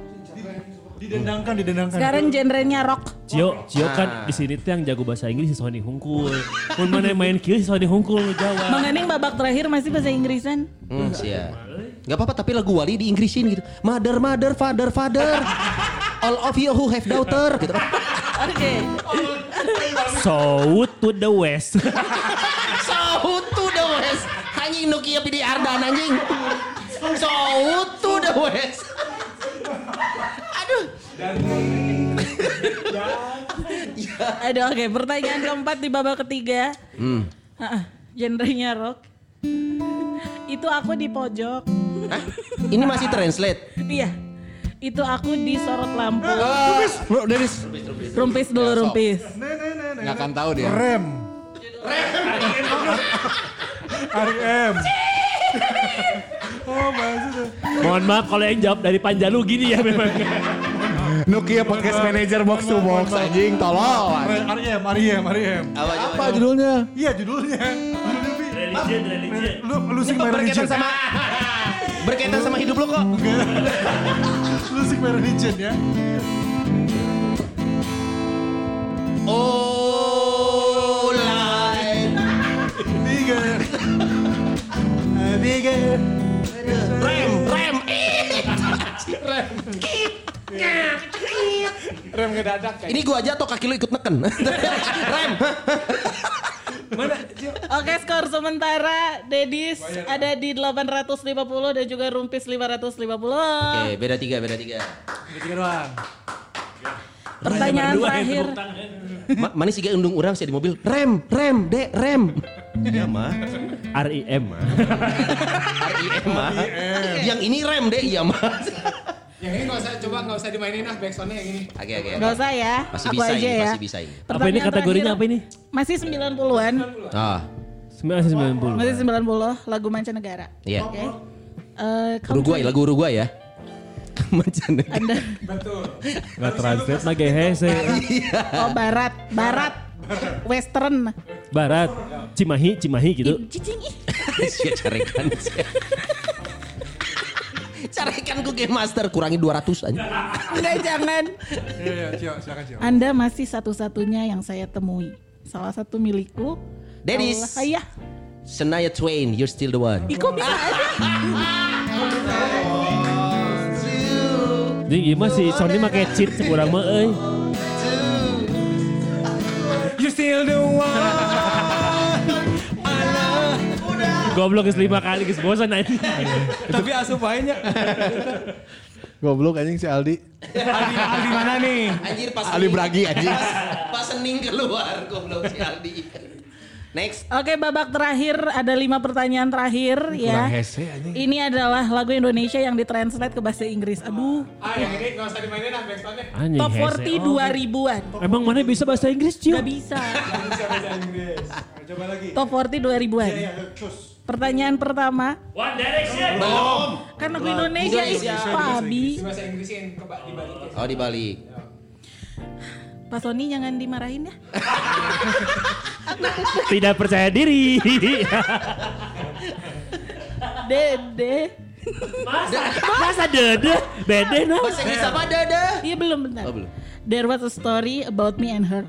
Didendangkan, didendangkan.
Sekarang genrenya rock.
Cio, Cio kan di sini tuh yang jago bahasa Inggris si Sony Hungkul. Mun mana yang main kieu si Sony Hungkul nu Jawa.
Mengening babak terakhir masih bahasa Inggrisan.
Hmm, sia. Gak apa-apa tapi lagu Wali di Inggrisin gitu. Mother, mother, father, father. All of you who have daughter gitu.
Oke.
So to the west.
So to the west. Anjing Nokia pilih Ardan anjing. So to the west.
Aduh, oke. Pertanyaan keempat di babak ketiga.
Hmm.
Heeh, Genrenya rock. Itu aku di pojok.
Hah? Ini masih translate.
Iya. Itu aku di sorot lampu.
Rumpis, Ya, bro, Dennis.
Rumpis dulu rumpis.
Nggak akan tahu dia.
Rem. R.M. E Oh, maksudnya.
Mohon maaf kalau yang jawab dari Panjalu gini ya memang.
Nokia Podcast Manager box to box anjing tolong.
E
anjing.
R.M. R.M. R.M.
Apa judulnya?
Iya judulnya. Judulnya Bi.
Religion, religion.
Lu lu sing my religion.
Berkaitan sama berkaitan sama hidup lo kok.
Lu sing my religion ya.
Oh, life.
Bigger. Eh, Bigger.
Rem, rem. Ih.
Rem ngedadak kayak.
Ini gua aja atau kaki lu ikut neken? rem.
Mana?
Oke, skor sementara Dedis ada di 850 dan juga Rumpis 550.
Oke, beda tiga, beda tiga.
Tiga doang.
Pertanyaan
Berdua ya, yang
terakhir.
tepuk tangan.
Ma, manis juga undung orang sih di mobil. Rem, rem, dek, rem. Iya mah.
RIM. ah.
RIM mah. Yang ini rem dek, iya mah.
Yang ini nggak usah coba nggak usah dimainin ah backsoundnya yang ini.
Oke, oke.
Gak usah ya.
Masih
aku
bisa
aja
ini,
ya.
masih bisa ini.
Apa ini
Pertanyaan
kategorinya apa
terakhir.
ini?
Masih 90-an.
Ah,
1990.
Masih 90 lagu mancanegara.
iya.
Oke. Eh, kamu
Uruguay, lagu Uruguay ya. Mancanegara.
Anda
Enggak translate lagi hese.
oh barat, barat, western.
Barat, Cimahi, Cimahi gitu.
Ih, Cicing ih.
Sia ya, carekan. sia. Carekan ku game master kurangi 200 aja.
Enggak jangan.
Iya, iya, silakan silakan.
Anda masih satu-satunya yang saya temui. Salah satu milikku
Dedis.
Allah, Iya.
Shania Twain, you're still the one.
Ih, kok bisa sih?
Jadi gimana sih Sony make cheat eh. kurang mah euy.
You still the one.
Goblok geus lima kali geus bosan nah, anjing.
Tapi asup aja.
Goblok anjing si Aldi.
Aldi, Aldi Ah, mana nih?
Anjir pas
Ali
sening-
Bragi anjing.
Pas, pas sening keluar goblok si Aldi. Next.
Oke babak terakhir ada lima pertanyaan terakhir ya. Ini adalah lagu Indonesia yang ditranslate ke bahasa Inggris. Aduh,
Ah yang ini gak usah dimainin ah, lah backsoundnya.
Anjing.
top
hese.
40
Oh.
2000-an.
Emang mana bisa bahasa Inggris, Cio?
Gak bisa.
Bisa bahasa Inggris. Coba lagi.
Top 40 2000-an.
cus.
Pertanyaan pertama,
One Direction.
kan lagu Indonesia is Fabi.
Bahasa Inggrisin keba- dibalikin.
Oh dibalik.
Pak Sony jangan dimarahin ya.
Tidak percaya diri.
Dede.
Masa dede, bede nah.
Bahasa Inggris apa dada?
Iya belum bentar.
Oh, belum.
There was a story about me and her.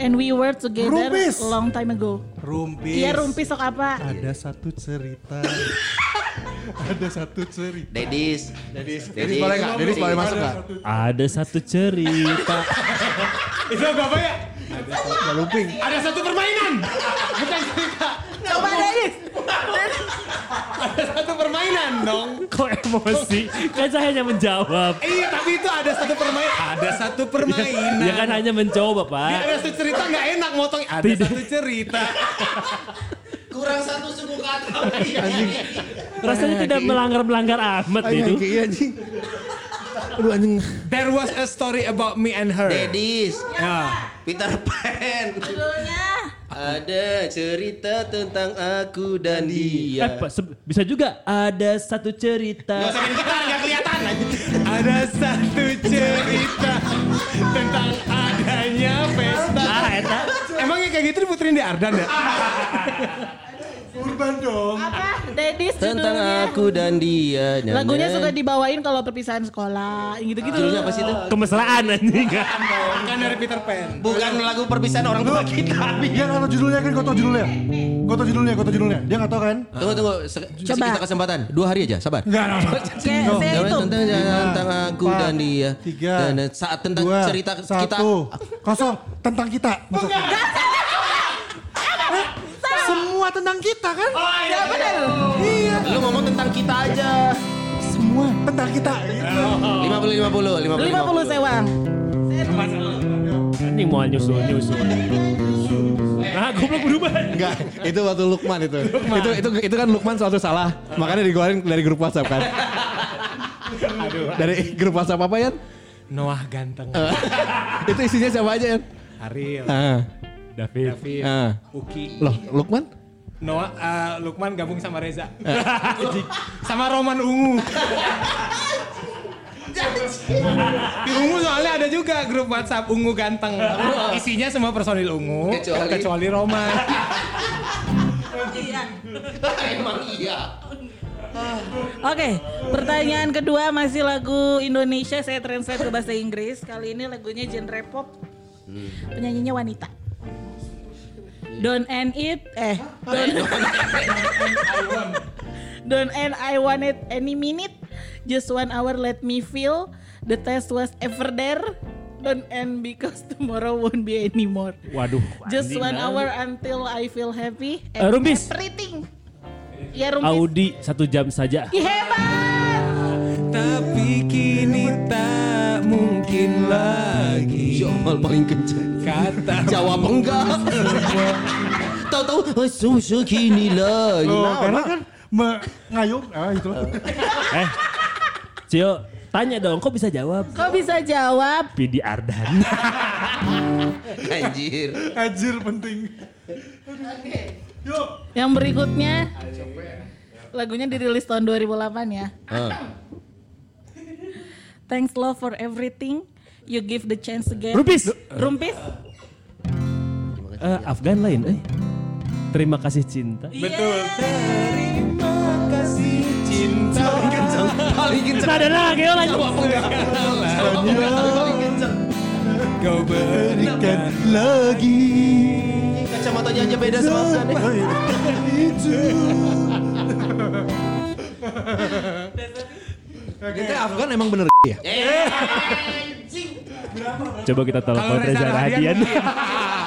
And we were together
Rumpis.
a long time ago.
Rumpis.
Iya rumpis sok apa?
Ada satu cerita. Ada satu cerita.
Dedis.
Dedis, Dedis boleh nggak? Dedis boleh masuk nggak?
Ada satu cerita.
Itu apa ya?
Gak lumping.
Ada satu permainan. Bukan cerita.
Coba deh.
Ada satu permainan dong.
Kok emosi? Kan saya hanya menjawab.
Iya tapi itu ada satu permainan. Ada satu permainan.
Dia kan hanya mencoba,
Dia
Pak.
ada satu cerita nggak enak motong. Ada
Tidak.
satu cerita.
Kurang satu suku kata.
Rasanya tidak melanggar-melanggar amat gitu.
Anjing
itu.
kayak anjing. Aduh anjing.
There was a story about me and her.
Dedis.
Ya.
Peter Pan.
Judulnya.
Ada cerita tentang aku dan
Eh,
dia.
Pak, se- bisa juga ada satu cerita.
Kita nggak kelihatan. Ada satu cerita tentang adanya pesta.
Ah, eta.
Emangnya kayak gitu diputerin di Ardan ya?
Urban dong.
Apa? Dedis
Tentang
judulnya.
aku dan dia.
Lagunya suka dibawain kalau perpisahan sekolah, gitu-gitu.
Judulnya apa sih itu?
Kemesraan anjing.
Bukan dari Peter Pan.
Bukan lagu perpisahan orang tua kita.
Dia nggak tahu judulnya kan, kau tahu judulnya. Kau tahu judulnya, kau tahu judulnya. Dia nggak tahu kan?
Tunggu tunggu, se-
Coba.
kita kesempatan. Dua hari aja, sabar.
Nggak, nggak, nggak.
Kayak saya
Jangan
itu.
tentang jangan tentang aku
empat,
dan dia.
Tiga,
Dan dan saat tentang
dua,
cerita
satu,
kita.
kosong tentang kita. Masuk. Eh, Semua tentang kita kan?
Ya benar.
Iya,
Lu ngomong tentang kita aja.
semua tentang kita.
Iya, 50 50
50 sewang.
Anjing mau nyusul, nyusul. Nah, goblok berubah.
Enggak, itu waktu Lukman itu. Itu itu itu kan Lukman suatu salah. Makanya digoreng dari grup WhatsApp kan. Aduh. Dari grup WhatsApp apa ya?
Noah ganteng.
Itu isinya siapa aja ya?
Ariel,
Ah.
David.
David,
ah.
Uki,
Loh, Lukman?
Noah, eh, Lukman gabung sama Reza. Jik. sama Roman Ungu. Di Ungu soalnya ada juga grup WhatsApp Ungu Ganteng. Isinya semua personil Ungu,
Kecuali-
kecuali, Roman.
Emang iya.
Oke, pertanyaan kedua masih lagu Indonesia saya translate ke bahasa Inggris. Kali ini lagunya genre pop.
Hmm.
Penyanyinya wanita. Don't end it eh don't Don't end I want it any minute. Just one hour let me feel the test was ever there. Don't end because tomorrow won't be anymore.
Waduh.
Just
anjing,
one
nah.
hour until I feel happy
Eh, Rumpis.
everything. Ya rumpis.
Audi satu jam saja.
Ih, hebat.
Tapi kini tak mungkin lagi.
Jomal Iya, paling kenceng.
Kata
Jawab enggak. Tahu-tahu "Oh, susu kini lagi.
Loh,
Nah,
karena kan me- ngayom, ah itu.
Eh, Cio, tanya dong, kok bisa jawab?
Kok bisa jawab?
Pidi Ardan.
Anjir.
Anjir penting.
Yang berikutnya lagunya dirilis tahun 2008 ya.
Ah.
Thanks love for everything. You give the chance again.
Rupis.
Rumpis.
Eh, Afgan lain, eh. Terima kasih cinta.
Betul.
kasih cinta.
Paling
Nah.
kenceng.
Ada lagi oh, lagi.
Jawab enggak. Jawab enggak, tapi paling kenceng.
Kau berikan
Lagi.
Kacamata fotonya aja beda sama Afgan.
Kita Afgan emang bener ya?
Coba kita telepon
Kalau
Reza
Reza
Rahadian.
Rahadian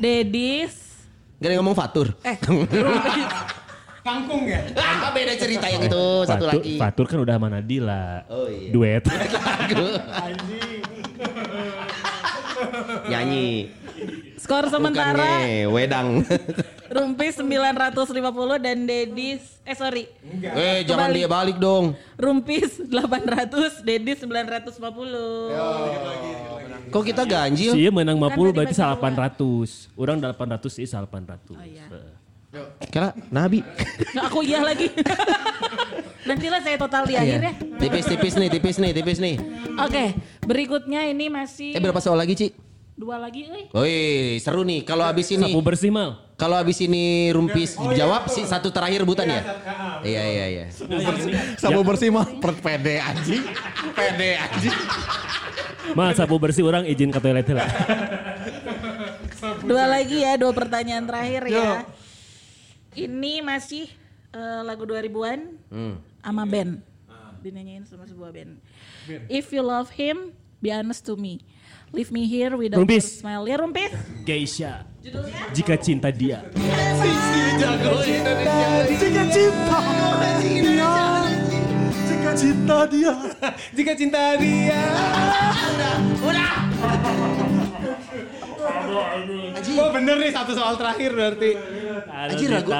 Dedis.
Gak ada yang ngomong fatur.
Eh.
Kangkung ya?
Ah, beda cerita yang itu Oh, satu
Fatur,
lagi.
Fatur kan udah sama Nadila.
Oh, iya.
Duet.
Nyanyi.
Skor
Bukan
sementara
nge, wedang.
Rumpis 950 dan Dedis eh sorry.
eh, jangan
Kembali.
dia balik dong.
Rumpis 800, Dedis 950.
Kok kita ganjil?
Iya menang 50
Kan
berarti
tadi bagi dua.
800. Orang 800 is 800.
Oh,
iya.
Heeh.
Kira Nabi.
Nah, aku iya lagi. Nantilah saya
Iya.
total di akhirnya.
Tipis-tipis nih, tipis nih, tipis nih.
Oke, berikutnya ini masih
Eh berapa soal lagi, Ci?
dua lagi eh.
Woi,
euy.
seru nih. Kalau habis ini
Sapu bersih mal.
kalau habis ini rumpis jawab si satu terakhir butan ya? Iya, iya, iya.
Sabu bersih mah per- pede anjing. Pede anjing.
Mal sapu bersih orang izin ke toilet lah.
Dua lagi ya, dua pertanyaan terakhir ya. Ini masih eh, lagu 2000-an sama band. Dinyanyiin sama sebuah band. If you love him, be honest to me. Leave me here without
Rumpis.
your smile. Ya rumpis.
Geisha. Jika cinta dia.
Jika cinta dia, jika cinta dia, jika cinta dia. Udah. Wah bener nih satu soal terakhir berarti.
Anjir, ragu.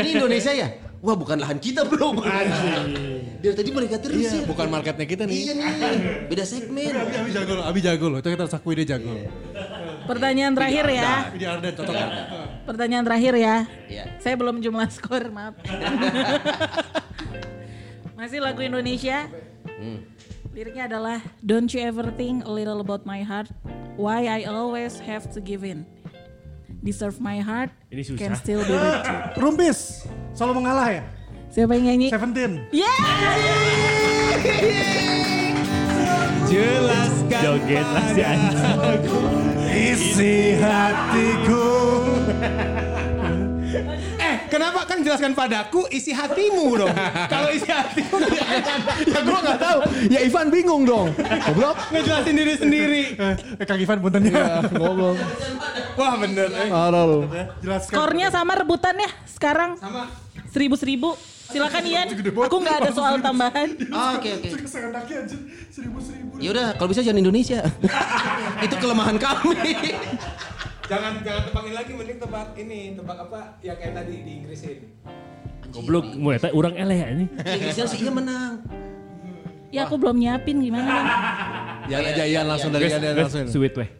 Ini Indonesia ya? Wah, bukan lahan kita, Bro. Dari tadi mereka terus ya.
Bukan marketnya kita
Iya
nih.
nih. Beda segmen.
Abi jago loh, Abi jago loh. Itu kita harus akui dia jago.
Pertanyaan terakhir ya.
Ini Arden cocok kan?
Pertanyaan terakhir ya.
Iya.
Saya belum jumlah skor, maaf. Masih lagu Indonesia. Liriknya adalah Don't you ever think a little about my heart Why I always have to give in Deserve my heart
Ini susah.
Can still be with you
Rumpis. Selalu mengalah ya?
Siapa yang nyanyi?
Seventeen.
Jelaskan
Joget lah si anjing.
isi hatiku. eh kenapa kan jelaskan padaku isi hatimu dong. Kalau isi hatimu kan,
Ya gua gak tahu. Ya Ivan bingung dong. Goblok.
ngejelasin diri sendiri.
Eh, Kang Ivan punten
Iya.
ya.
Goblok.
Wah bener. eh.
Parah lu.
Jelaskan.
Skornya sama rebutan ya sekarang Sama Seribu-seribu Silakan Ian Aku nggak ada soal tambahan
Oh, Oke, oke.
Seenaknya anjir. Seribu-seribu.
Ya udah, kalau bisa jangan Indonesia. Itu kelemahan kami.
Jangan jangan tepakin lagi mending tebak ini tebak apa yang kayak tadi di Inggrisin.
Goblok mulai tadi orang eleh ya ini.
Indonesia sih iya menang.
Ya aku belum nyiapin gimana
Jangan
Iya,
aja Ya, Ian langsung dari Ian Ian, langsung.
Sweet weh.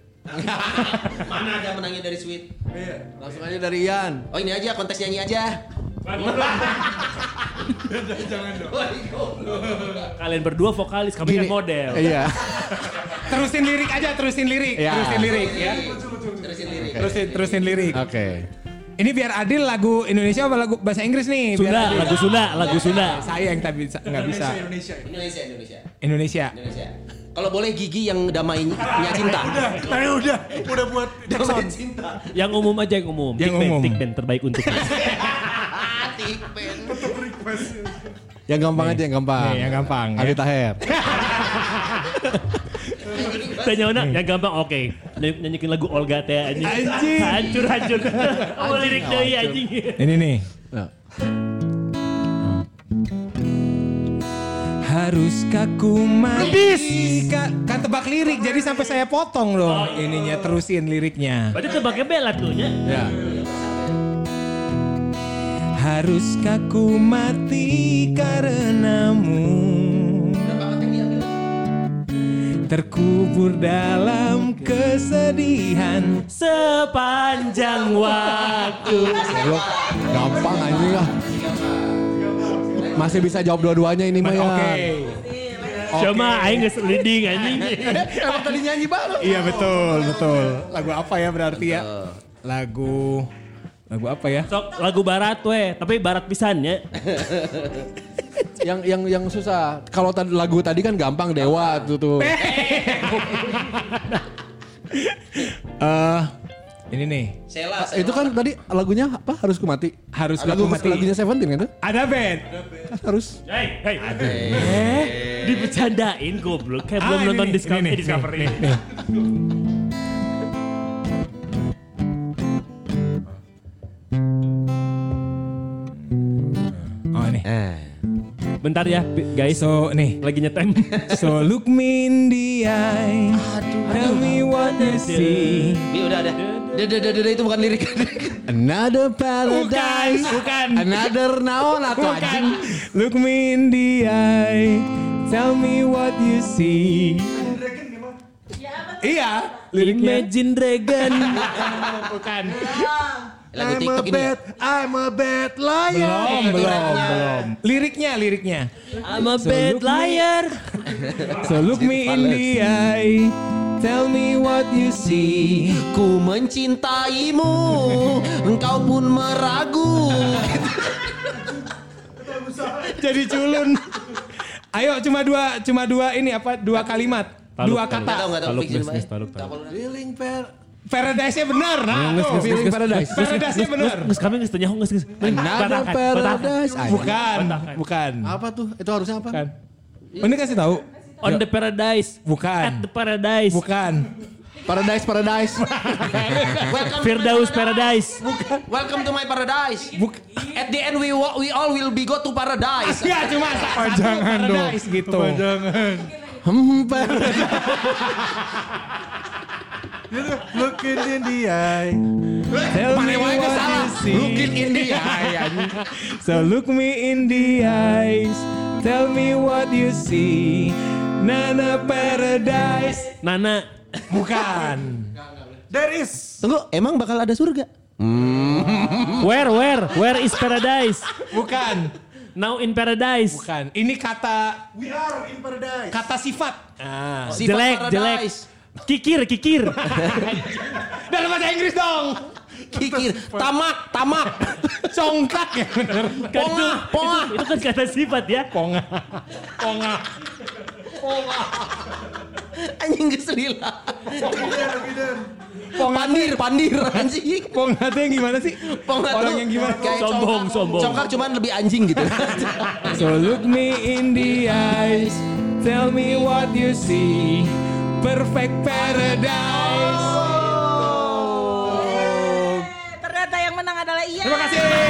Mana ada menangnya dari Sweet?
Iya.
Langsung aja dari Ian.
Oh ini aja kontes nyanyi aja.
Kalian berdua vokalis, kami kan
Gini.
model.
Iya.
Terusin lirik aja, terusin lirik,
Ya.
terusin lirik ya.
Terusin lirik.
Terusin terusin lirik.
Oke.
Ini biar adil lagu Indonesia apa lagu bahasa Inggris nih? Biar
Sunda,
adil.
lagu Sunda, lagu Sunda.
Saya yang tak bisa nggak bisa.
Indonesia, Indonesia,
Indonesia.
Indonesia. Kalau boleh gigi yang damainya cinta.
Tapi udah, udah buat
Damai cinta.
Yang umum aja yang umum.
Yang
Big Bang,
umum.
Big Bang terbaik untuk
Hati pen.
Yang gampang aja yang gampang.
Nih, yang gampang, ya.
Ali Taher.
Tanya Ona, yang gampang oke. Ny- Nyanyikin lagu Olga teh anjing.
Anjing.
Hancur hancur. Apa lirik deui anjing.
Ini nih.
Nah.
Haruskah ku mati? Ka- kan tebak lirik, jadi sampai saya potong loh ininya terusin liriknya.
Berarti tebaknya bela tuh nya.
Ya.
Haruskah ku mati karenamu Terkubur dalam kesedihan
Sepanjang waktu.
Goblok. Gampang anjing lah. Masih bisa jawab dua-duanya ini ya. mah
Oke
Ian.
Cuma aing geus leading anjing.
Emang tadi nyanyi banget.
Iya betul, betul Lagu apa ya berarti ya? Lagu... Lagu apa ya?
Sok lagu barat weh, tapi barat ya. pisannya.
Eh. Yang yang yang susah. Kalau tadi lagu tadi kan gampang Dewa tuh tuh.
Eh, ini nih.
Sela, Sela.
Itu kan tadi lagunya apa? Harus ku mati.
Harus Ku
Lagu
Mati.
lagunya Seventeen kan? tuh?
Ada band.
Kan harus.
Hei, hei. Eh, dibercandain goblok. Kayak belum
Ah, ini
nonton
nih,
Discovery.
ini nih,
Discovery.
nih, nih. Oh ini.
Bentar ya, guys.
So nih.
Lagi nyetem.
So look me in the eye. Tell me what you see.
Bi kan- Iya, udah ada. Dede dede itu bukan lirik.
Nah,
Another
Bukan,
paradise.
bukan.
Another naon atau
Bukan.
anjing.
Look me in the eye. Tell me what you see. Iya, liriknya.
Imagine Dragon.
Bukan.
Lagu TikTok ini. ya?
I'm a bad liar.
Belum, belum, belum. Liriknya, liriknya.
I'm a bad liar.
So look me in the eye. Tell me what you see.
Ku mencintaimu, engkau pun meragu.
Jadi culun. Ayo cuma dua, cuma dua ini apa? Dua kalimat,
Taluk,
dua
taluk.
Tahu
kata.
enggak tahu
Taluk,
fiction,
Miss,
Pak?
Miss, taluk,
Tahu
taluk.
kalau-
Paradise-nya benar, nah.
Iya,
tuh.
Feeling paradise.
Paradise-nya benar.
Nggak kami nggak tanya, nggak
Another paradise. Anjing.
Bukan, bukan.
Apa tuh? Itu harusnya apa?
Bukan. Ini kasih tahu.
On the paradise.
Bukan.
At the paradise.
Bukan.
Paradise, paradise.
Welcome to my
Firdaus
paradise.
Paradise.
Welcome to my paradise.
Buk-
At the end we wa- we all will be go to paradise.
Ya cuma sa- satu
Jangan dong.
paradise gitu.
Jangan.
Hmm, paradise.
Looking in the eye.
Tell me
Paling
what
wae
you
salah.
see.
Looking in the eye. anjing.
So look me in the eyes. Tell me what you see. Nana paradise.
Nana.
Bukan.
There is.
Tunggu, emang bakal ada surga?
Where, where, where is paradise?
Bukan.
Now in paradise.
Bukan. Ini kata
We are in paradise.
kata sifat. Ah.
Sifat
Jelek, jelek.
paradise.
Kikir, kikir.
Dalam bahasa Inggris dong.
Kikir, tamak, tamak.
Congkak ya bener.
Ponga, ponga.
Itu kan kata sifat ya.
Ponga. Ponga.
Anjing keselila.
Ponga.
Pandir, pandir anjing.
Ponga tuh yang gimana sih?
Ponga
Orang
tuh
yang gimana?
kayak congkak.
Sombong, sombong.
Congkak cuman lebih anjing gitu.
So look me in the eyes, tell me what you see. Perfect paradise.
Ternyata yang menang adalah Ian.
Terima kasih.